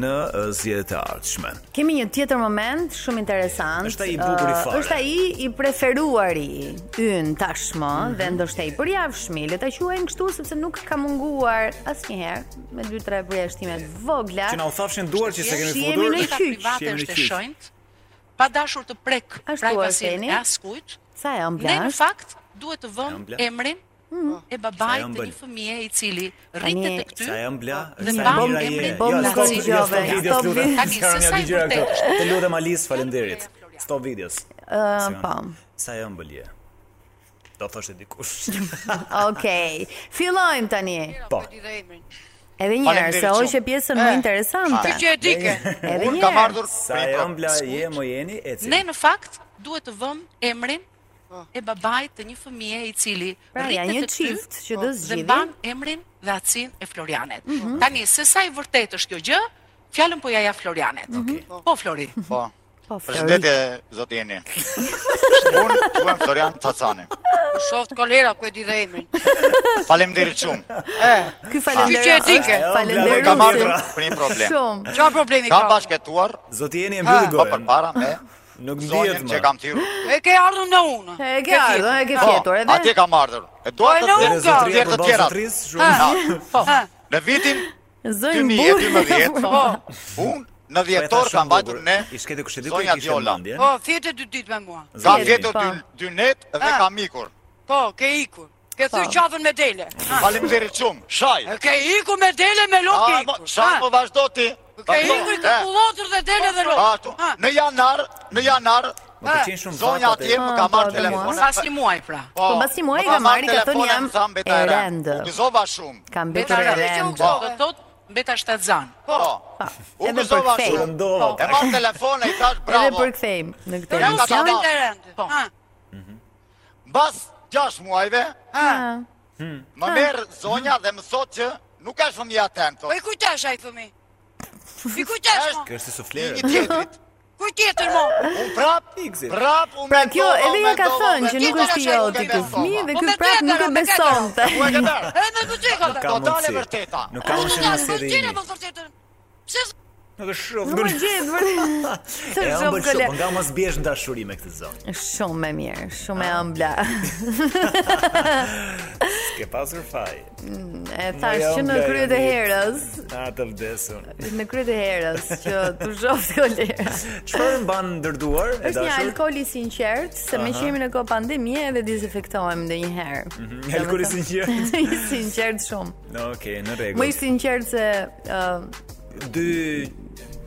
Speaker 9: në ë, zgjedhjet e ardhshme.
Speaker 10: Kemi një tjetër moment shumë interesant.
Speaker 9: Është ai i bukur i
Speaker 10: Ë,
Speaker 9: fare.
Speaker 10: Është ai i preferuari yn tashmë
Speaker 9: Mhm.
Speaker 10: dhe ndoshta i përjavshmi, le ta quajmë kështu sepse nuk ka munguar asnjëherë me 2-3 përjashtime të vogla.
Speaker 9: Që na u thafshin duar që se kemi
Speaker 10: Jemi
Speaker 9: futur.
Speaker 10: në
Speaker 9: Jemi
Speaker 10: qyq.
Speaker 9: në
Speaker 10: Jemi në
Speaker 9: qyq.
Speaker 13: pa dashur të prek privacinë
Speaker 10: Arseni?
Speaker 13: e askujt.
Speaker 10: Sa janë
Speaker 13: Ne në
Speaker 10: blasht?
Speaker 13: fakt duhet të vëmë
Speaker 9: Janë blasht.
Speaker 13: emrin e
Speaker 9: Sa
Speaker 13: babait
Speaker 9: janë
Speaker 13: të
Speaker 9: bën?
Speaker 13: një fëmije i cili rritet tek ty.
Speaker 9: Sa jam bla,
Speaker 13: Dhe
Speaker 9: sa
Speaker 13: mban
Speaker 9: jam mira
Speaker 13: emrin
Speaker 9: je.
Speaker 13: Bom
Speaker 9: Jo,
Speaker 13: nga
Speaker 9: stop,
Speaker 13: si
Speaker 9: jo,
Speaker 13: gjove,
Speaker 9: stop videos,
Speaker 13: stop
Speaker 9: lutem.
Speaker 13: videos. Taki,
Speaker 9: S'ka
Speaker 13: se
Speaker 9: nga
Speaker 13: sa i
Speaker 9: videogjëra
Speaker 13: vërtet
Speaker 9: këto.
Speaker 13: është.
Speaker 9: Të lutem Alis, faleminderit. Stop videos.
Speaker 10: Ë,
Speaker 9: Sion.
Speaker 10: po.
Speaker 9: Sa jam bëlje. Do thoshte dikush.
Speaker 10: Okej. Fillojmë tani.
Speaker 9: Po.
Speaker 10: Edhe një herë,
Speaker 9: Faleminderit
Speaker 10: se
Speaker 9: shumë.
Speaker 10: hoqë pjesën më interesante.
Speaker 13: Ti që Eh, e di ke.
Speaker 10: Edhe
Speaker 13: Unë
Speaker 10: një
Speaker 13: kam
Speaker 10: herë.
Speaker 13: ardhur
Speaker 9: Sa jam bla, je mo jeni eci.
Speaker 13: Ne në fakt duhet të vëmë emrin
Speaker 11: Po.
Speaker 13: e babait të një fëmije i cili
Speaker 10: Pra,
Speaker 13: rritet
Speaker 10: janë një
Speaker 13: tek ty
Speaker 10: çift që do
Speaker 13: Dhe
Speaker 10: zgjidhin.
Speaker 13: mban emrin dhe atësin e Florianit.
Speaker 11: Mhm.
Speaker 13: Tani se sa i vërtet është kjo gjë, fjalën po ja ja Florianit. Po Flori.
Speaker 2: Po.
Speaker 10: Po,
Speaker 12: Përshëndetje zoti Jeni. Unë juam Florian Cacani.
Speaker 17: Për shoft kolera ku e di dhe emrin.
Speaker 12: Faleminderit shumë.
Speaker 10: Ky falenderoj.
Speaker 17: Ky që e di ke.
Speaker 10: Falenderoj.
Speaker 12: Kam ardhur për një problem.
Speaker 10: Shumë.
Speaker 17: Çfarë problemi ka?
Speaker 12: Kam bashkëtuar.
Speaker 9: Zoti Jeni
Speaker 12: e mbylli gojën. Po përpara me
Speaker 9: Nuk
Speaker 12: zonjën që kam thirrur.
Speaker 17: E ke ardhur në unë.
Speaker 10: E ke ardhur, e ke fjetur edhe.
Speaker 12: Atje kam ardhur. E dua
Speaker 17: Po, e
Speaker 12: të
Speaker 17: në
Speaker 12: të
Speaker 17: unë ka.
Speaker 12: të të tjera.
Speaker 17: Po.
Speaker 12: Në vitin
Speaker 10: Zonjë
Speaker 12: 2012,
Speaker 10: burr. Po.
Speaker 12: unë në dhjetor kam bajtur ne
Speaker 9: I shkete kushtet ku
Speaker 12: Zonja
Speaker 9: e kishte
Speaker 12: Viola.
Speaker 9: mendjen.
Speaker 17: Po, thjetë dy ditë me mua.
Speaker 12: Ka
Speaker 9: Zonja.
Speaker 12: vjetur dy,
Speaker 17: Po.
Speaker 12: dy net dhe
Speaker 17: Ah.
Speaker 12: kam ikur.
Speaker 17: Po, ke ikur. Ke thyrë qafën me dele. Ha.
Speaker 12: Faleminderit shumë. Shaj.
Speaker 17: E Ke ikur me dele me lok
Speaker 12: Ah,
Speaker 17: ke
Speaker 12: mo-
Speaker 17: ikur.
Speaker 12: Shaj
Speaker 17: Ha.
Speaker 12: po vazhdo ti.
Speaker 17: Ke ikur i ke
Speaker 12: Eh.
Speaker 17: kullotër dhe dele dhe Ah. lok.
Speaker 12: Ashtu. Në janar, në janar.
Speaker 17: Më pëlqen shumë
Speaker 12: Zonja
Speaker 17: fatat e-
Speaker 12: atje më ka
Speaker 17: Ah,
Speaker 12: marrë
Speaker 17: po, dhe mua.
Speaker 12: telefonin.
Speaker 17: Pas një muaj, pra.
Speaker 10: Po, pas një muaj
Speaker 12: më ka
Speaker 10: ka marrë, ka thënë
Speaker 12: telefonin,
Speaker 10: jam
Speaker 12: më tha, "Mbeta
Speaker 10: e
Speaker 12: re."
Speaker 10: rend."
Speaker 12: U gëzova shumë.
Speaker 10: Ka mbetur e rend.
Speaker 12: Po.
Speaker 17: Do thot mbeta shtatzan.
Speaker 12: Po. U
Speaker 10: Edhe për
Speaker 12: gëzova
Speaker 10: kthejmë.
Speaker 12: shumë. E marr telefonin i thash
Speaker 10: Edhe
Speaker 12: bravo.
Speaker 10: për kthejmë në këtë
Speaker 12: Ja ka
Speaker 10: emision.
Speaker 12: dalë.
Speaker 17: Po.
Speaker 12: Mbas 6 Mhm. muajve,
Speaker 10: Ah.
Speaker 12: më merr zonja dhe më thotë që nuk ka fëmija ten.
Speaker 17: Po i kujtash ai fëmi? I kujtash mo?
Speaker 9: Kjo është suflerë.
Speaker 12: Një tjetrit.
Speaker 17: Kuj tjetër mo?
Speaker 12: Unë prap, prap unë
Speaker 10: Pra kjo
Speaker 12: mendova,
Speaker 10: edhe ja ka
Speaker 12: mendova,
Speaker 10: thënë që nuk
Speaker 12: mendova,
Speaker 10: është jo i
Speaker 12: nuk e
Speaker 10: joti ky
Speaker 12: besova.
Speaker 10: fëmijë dhe
Speaker 12: Po
Speaker 10: ky
Speaker 12: me
Speaker 10: prap nuk
Speaker 12: tjetër,
Speaker 10: e
Speaker 12: o, me tjetër, o.
Speaker 10: besonte.
Speaker 12: U e këtar.
Speaker 17: E me buçikot.
Speaker 9: Nuk ka
Speaker 12: Totale
Speaker 9: mundësi.
Speaker 12: vërteta.
Speaker 9: Nuk ka mundësi
Speaker 17: Nuk
Speaker 9: mos i rini.
Speaker 17: po vërtetën. Pse s-
Speaker 9: Nuk është shumë.
Speaker 10: Nuk e gjet vërtet. Të
Speaker 9: E
Speaker 10: shumë
Speaker 9: ëmbël
Speaker 10: kole.
Speaker 9: shumë, po nga mos biesh në dashuri me këtë zonë.
Speaker 10: Shumë e mirë, shumë e ëmbla.
Speaker 9: S'ke pasur faj.
Speaker 10: E thash që në kryet e herës,
Speaker 9: A të vdesun.
Speaker 10: në kryet e herës që të shoft kolera.
Speaker 9: Çfarë mban ndërduar e
Speaker 10: Është një
Speaker 9: dashur?
Speaker 10: alkool i sinqert, se me që
Speaker 9: Aha.
Speaker 10: jemi në kohë pandemie edhe dezinfektohemi ndonjëherë.
Speaker 9: Mhm, një alkool i sinqert.
Speaker 10: I sinqert shumë.
Speaker 9: No, okay, në
Speaker 10: Më i
Speaker 9: rregull.
Speaker 10: sinqert se ë,
Speaker 9: Dy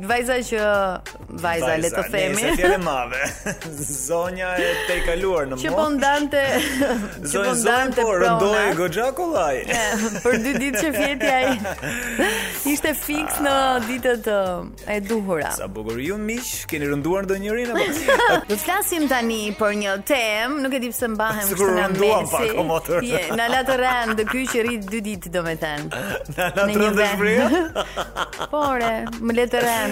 Speaker 10: vajza që vajza le të themi.
Speaker 9: Nëse fjalë e madhe. Zonja e te i kaluar në
Speaker 10: Që po
Speaker 9: mos.
Speaker 10: ndante që po
Speaker 9: Zonja zonë
Speaker 10: ndante
Speaker 9: po rëndoi
Speaker 10: prona.
Speaker 9: goxha kollaj.
Speaker 10: E, Për dy ditë që fjeti ai ishte fiks në ditët ë, e duhura.
Speaker 9: Sa bukur ju miq, keni rënduar ndonjërin apo?
Speaker 10: Do të flasim tani për një temë, nuk e di pse mbahem
Speaker 9: Sigur
Speaker 10: kështu nga
Speaker 9: rënduam
Speaker 10: mesi.
Speaker 9: pak, o motor.
Speaker 10: Je, na la të rënd ky që rrit dy ditë domethënë.
Speaker 9: Na na
Speaker 10: Në një
Speaker 9: trondë
Speaker 10: vend.
Speaker 9: shpria.
Speaker 10: Pore, më le të rënd.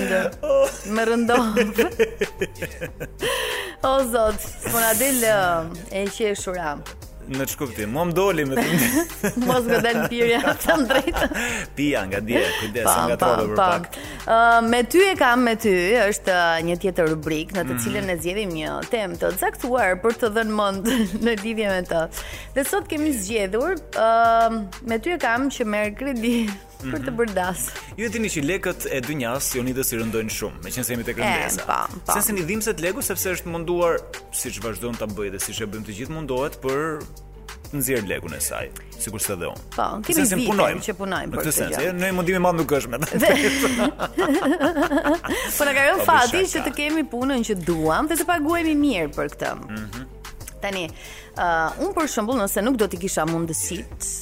Speaker 10: Më rëndon. o zot, po na del ë, e qeshura.
Speaker 9: Në çkuptim, mua më doli me të
Speaker 10: Mos më dal pirja, të drejtë.
Speaker 9: pija nga dje, kujdes
Speaker 10: Pa,
Speaker 9: nga
Speaker 10: pa,
Speaker 9: trove për
Speaker 10: pa.
Speaker 9: pak.
Speaker 10: Ë, me ty e kam me ty është ë, një tjetër rubrik në të
Speaker 9: Mhm.
Speaker 10: cilën e zgjedhim një temë të caktuar për të dhënë mend në lidhje me të. Dhe sot kemi zgjedhur ë me ty e kam që merr kredi për
Speaker 9: Mhm.
Speaker 10: të bërë das.
Speaker 9: Ju e dini që lekët e dynjas jonidës i rëndojnë shumë, meqense jemi tek
Speaker 10: E,
Speaker 9: rëndesa.
Speaker 10: pa, pa.
Speaker 9: Se se një dhimbse të legu sepse është munduar, siç vazhdon ta bëjë dhe siç e bëjmë të gjithë mundohet për të nxjerr legun e saj, sikur s'e dhe unë.
Speaker 10: Po,
Speaker 9: Në
Speaker 10: kemi
Speaker 9: sensin
Speaker 10: vite
Speaker 9: punojmë,
Speaker 10: që punojmë
Speaker 9: Në
Speaker 10: për
Speaker 9: këtë
Speaker 10: këtë
Speaker 9: sens,
Speaker 10: gjë.
Speaker 9: e, në mundim i madh nuk është me të.
Speaker 10: Po na ka rënë
Speaker 9: Po, për
Speaker 10: fati
Speaker 9: shaka.
Speaker 10: që të kemi punën që duam dhe të paguhemi mirë për këtë.
Speaker 9: Mhm.
Speaker 10: Tani, uh, unë për shembull nëse nuk do t'i kisha mundësitë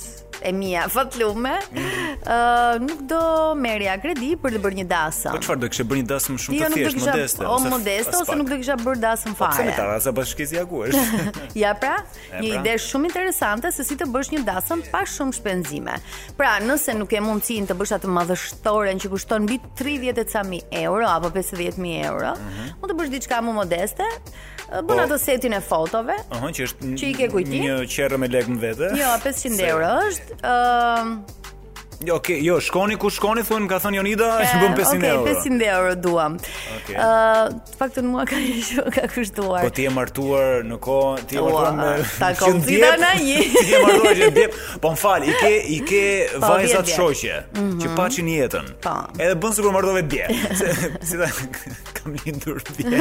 Speaker 10: e mia fatlume,
Speaker 9: Mhm.
Speaker 10: uh, nuk do merja kredi për të bërë një dasëm.
Speaker 9: Po çfarë do kishe bërë një dasmë shumë
Speaker 10: Jo,
Speaker 9: të
Speaker 10: nuk do
Speaker 9: thjeshtë,
Speaker 10: kisha
Speaker 9: modeste.
Speaker 10: o modeste ose nuk do kisha bërë dasëm
Speaker 9: fare. Po, Pse
Speaker 10: fare.
Speaker 9: me tara sa bashkësi ja ku është?
Speaker 10: Ja pra,
Speaker 9: E
Speaker 10: një
Speaker 9: pra.
Speaker 10: ide shumë interesante se si të bësh një dasëm pa shumë shpenzime. Pra, nëse nuk e mundësin të bësh atë madhështoren që kushton mbi 30 e ca mi euro apo 50.000 euro, mund të bësh diçka më modeste, bën
Speaker 9: Mhm. Po.
Speaker 10: atë setin e fotove.
Speaker 9: Aha, që është
Speaker 10: Që i ke kujti?
Speaker 9: Një qerrë me lek në vete.
Speaker 10: Jo, 500
Speaker 9: Se-
Speaker 10: euro është. ëm
Speaker 9: Jo, okay, jo, shkoni ku shkoni, thonë, më ka thënë Jonida,
Speaker 10: e,
Speaker 9: që bën 500
Speaker 10: okay,
Speaker 9: euro.
Speaker 10: 500 euro duam.
Speaker 9: Okej.
Speaker 10: Ë, të paktën mua ka ka kushtuar.
Speaker 9: Po ti je martuar në kohë, ti je
Speaker 10: Ua,
Speaker 9: martuar me
Speaker 10: ta
Speaker 9: që
Speaker 10: kom
Speaker 9: ndjep-
Speaker 10: zida na je.
Speaker 9: Ti je martuar që ndjep. Po më fal, i ke i ke
Speaker 10: Po,
Speaker 9: vajzat
Speaker 10: 10 vjet.
Speaker 9: shoqe
Speaker 10: Mhm.
Speaker 9: që paçin jetën.
Speaker 10: Po.
Speaker 9: Edhe bën sikur martove dje. Se si ta kam lindur dje.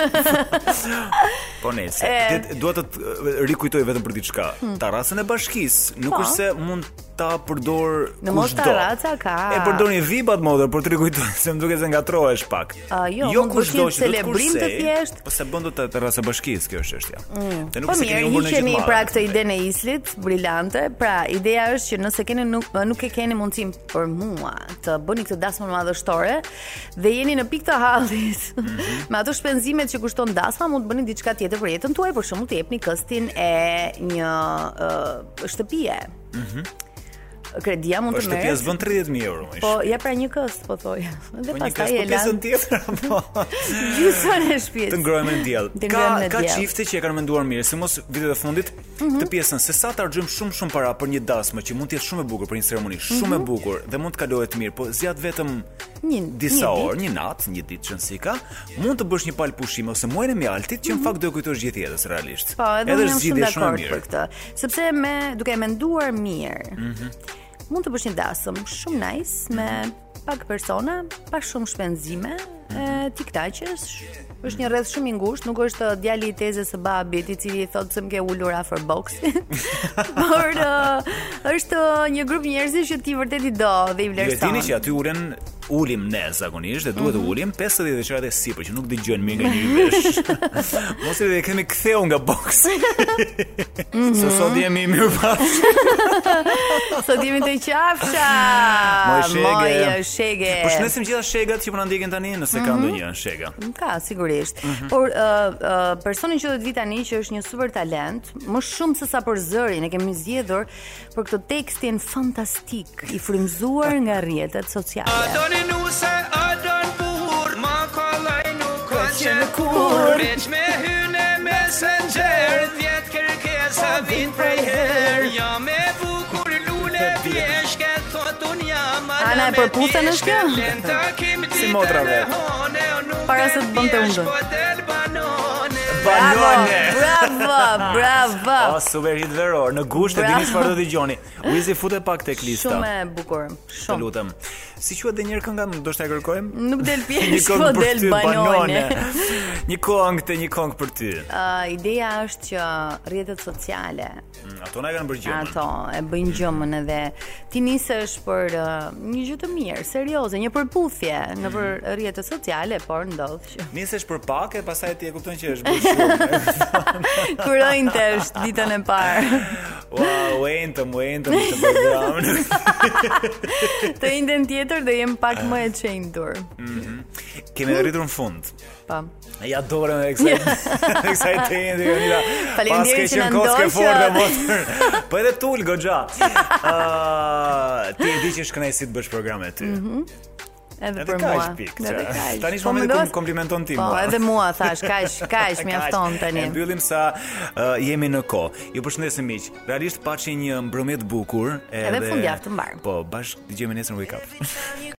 Speaker 9: Po nice.
Speaker 10: E.
Speaker 9: Det- Dua të të rikujtoj vetëm për diçka.
Speaker 10: Hmm.
Speaker 9: Tarasën e bashkisë nuk
Speaker 10: Po.
Speaker 9: është se mund ta përdor
Speaker 10: Në mos
Speaker 9: kushdo.
Speaker 10: taraca ka.
Speaker 9: E përdorni vibat modër për të rikujtuar se më duket se ngatrohesh pak.
Speaker 10: A, jo, mund të
Speaker 9: kushdo që
Speaker 10: ketë
Speaker 9: do të
Speaker 10: celebrim të
Speaker 9: kursej,
Speaker 10: thjeshtë.
Speaker 9: Po se bën do të terrasa bashkisë, kjo është çështja.
Speaker 10: Mm.
Speaker 9: Dhe nuk
Speaker 10: Po
Speaker 9: se keni
Speaker 10: mirë,
Speaker 9: humbur në
Speaker 10: hiqemi
Speaker 9: gjithë
Speaker 10: pra
Speaker 9: marrat,
Speaker 10: këtë ide në Islit, brillante. Pra, ideja është që nëse keni nuk nuk e keni mundësim për mua të bëni këtë dasmë madhështore dhe jeni në pikë të hallit.
Speaker 9: Mhm.
Speaker 10: me ato shpenzimet që kushton dasma, mund të bëni diçka tjetër për jetën tuaj, për
Speaker 9: Mhm.
Speaker 10: shembull të jepni këstin e një uh, shtëpie. kredia mund të
Speaker 9: është të
Speaker 10: merret.
Speaker 9: pjesë bën 30000 euro. ish.
Speaker 10: Po, ja pra një këst, po thoja. Dhe
Speaker 9: Po, një
Speaker 10: pastaj
Speaker 9: këst, po
Speaker 10: e lan.
Speaker 9: pjesën tjetër po. apo
Speaker 10: Gjysmën e shtëpisë.
Speaker 9: Të ngrojmë në diell. Ka
Speaker 10: Të ngrojmë në
Speaker 9: ka
Speaker 10: diell.
Speaker 9: çifte që e kanë menduar mirë, sidomos vitet e fundit,
Speaker 10: Mhm.
Speaker 9: këtë pjesën se sa të harxhojmë shumë shumë para për një dasmë që mund të jetë shumë e bukur për një ceremoni, shumë e
Speaker 10: Mhm.
Speaker 9: bukur dhe mund të kalohet mirë, po zjat vetëm
Speaker 10: Një
Speaker 9: disa
Speaker 10: ditë.
Speaker 9: orë, një natë, një ditë çansika, mund të bësh një pal pushim ose muajin e mjaltit që në fakt do e kujtosh gjithë jetës realisht.
Speaker 10: Mhm. Po, edhe unë jam shumë
Speaker 9: zgjidhje
Speaker 10: dakord për këtë. Sepse me duke e menduar mirë,
Speaker 9: Mhm.
Speaker 10: mund të bësh një dasëm shumë nice me pak persona, pa shumë shpenzime,
Speaker 9: Mhm.
Speaker 10: e ti këtaqesh. Është një rreth shumë i ngushtë, nuk është ë, djali i tezës së babit i cili thotë se më ke ulur afër boksit. por ë, është ë, një grup njerëzish që ti vërtet i do dhe i
Speaker 9: Ju e dini
Speaker 10: vlerëson.
Speaker 9: që aty ulen ulim ne zakonisht dhe duhet të
Speaker 10: Mhm.
Speaker 9: ulim 50 veçorate sipër që nuk dëgjojnë mirë nga njëri vesh. Mos e dhe kemi ktheu nga boksi.
Speaker 10: Mhm.
Speaker 9: Se sot jemi mirë pa.
Speaker 10: Sot jemi Po, të qafsha.
Speaker 9: Moj shege.
Speaker 10: Moj shege.
Speaker 9: Po shnesim gjitha shegat që po na ndjekin tani nëse ka
Speaker 10: Mhm.
Speaker 9: ndonjë shega.
Speaker 10: Ka, sigurisht.
Speaker 9: Mhm.
Speaker 10: Por uh, uh, personi që do të vi tani që është një super talent, më shumë se sa për zërin e kemi zgjedhur për këtë tekstin fantastik i frymzuar nga rrjetet sociale.
Speaker 18: Adoni nuse, adon buhur Ma kolaj nuk ka qenë
Speaker 10: kur.
Speaker 18: kur Veç me hyne messenger Djetë kërkesa vin prej her Ja me bukur lune pjeshke Thot unë jam ala
Speaker 10: Ana e
Speaker 18: me
Speaker 10: përputhen është kjo?
Speaker 18: pjeshke, lenta kim
Speaker 10: Si
Speaker 18: ditën
Speaker 10: motra
Speaker 18: e
Speaker 10: vet.
Speaker 18: hone, unë nuk
Speaker 10: Para
Speaker 18: e
Speaker 10: se të bënte
Speaker 18: pjesh,
Speaker 10: undën.
Speaker 18: po del banone
Speaker 9: Banone.
Speaker 10: Bravo, bravo.
Speaker 9: O super hit veror, në gusht e
Speaker 10: Bravo.
Speaker 9: dini çfarë do dëgjoni. Wizi fute pak tek lista.
Speaker 10: Shumë e bukur.
Speaker 9: Të
Speaker 10: Shumë.
Speaker 9: lutem. Si quhet dhe njëherë kënga, ndoshta e kërkojmë?
Speaker 10: Nuk del
Speaker 9: Një
Speaker 10: pjesë,
Speaker 9: këngë
Speaker 10: po
Speaker 9: për
Speaker 10: del
Speaker 9: ty,
Speaker 10: banone.
Speaker 9: Një këngë te një këngë për ty.
Speaker 10: Uh, ideja është që rrjetet sociale
Speaker 9: Mm, Ato na kanë bërë gjëmën.
Speaker 10: Ato e bëjnë gjëmën edhe ti nisesh për uh, një gjë të mirë, serioze, një përputhje në
Speaker 9: Mm.
Speaker 10: për rrjetet sociale, por ndodh që
Speaker 9: Nisesh për pak e pastaj ti e kupton që është bërë shumë.
Speaker 10: kurojnë të është ditën e parë.
Speaker 9: Wow, entëm, entëm të programin.
Speaker 10: Të njëjtën tjetër do jem pak më e çentur.
Speaker 9: Mhm. Kemi edhe rritur në fund.
Speaker 10: Po.
Speaker 9: Ja dorën e kësaj e kësaj tende, Jonida.
Speaker 10: Faleminderit
Speaker 9: Pas ke
Speaker 10: që na
Speaker 9: qenë koske
Speaker 10: ndoqët.
Speaker 9: fort dhe motër. Po edhe tul goxha. Ë, ti e di që shkënaj si të bësh programet ty.
Speaker 10: Mhm. Edhe,
Speaker 9: Edhe
Speaker 10: për
Speaker 9: kaq,
Speaker 10: mua.
Speaker 9: pik,
Speaker 10: Edhe
Speaker 9: qa.
Speaker 10: kaq.
Speaker 9: Tani është
Speaker 10: Po,
Speaker 9: momenti ku
Speaker 10: mendos-
Speaker 9: më komplimenton ti
Speaker 10: Po,
Speaker 9: mua.
Speaker 10: edhe mua thash, kaq, kaq, mjafton tani.
Speaker 9: E mbyllim sa uh, jemi në kohë. Ju përshëndesim miq. Realisht paçi një mbrëmje të bukur
Speaker 10: Edhe fundjavë të mbarë.
Speaker 9: Po, bashkë dëgjojmë nesër në Wake Up.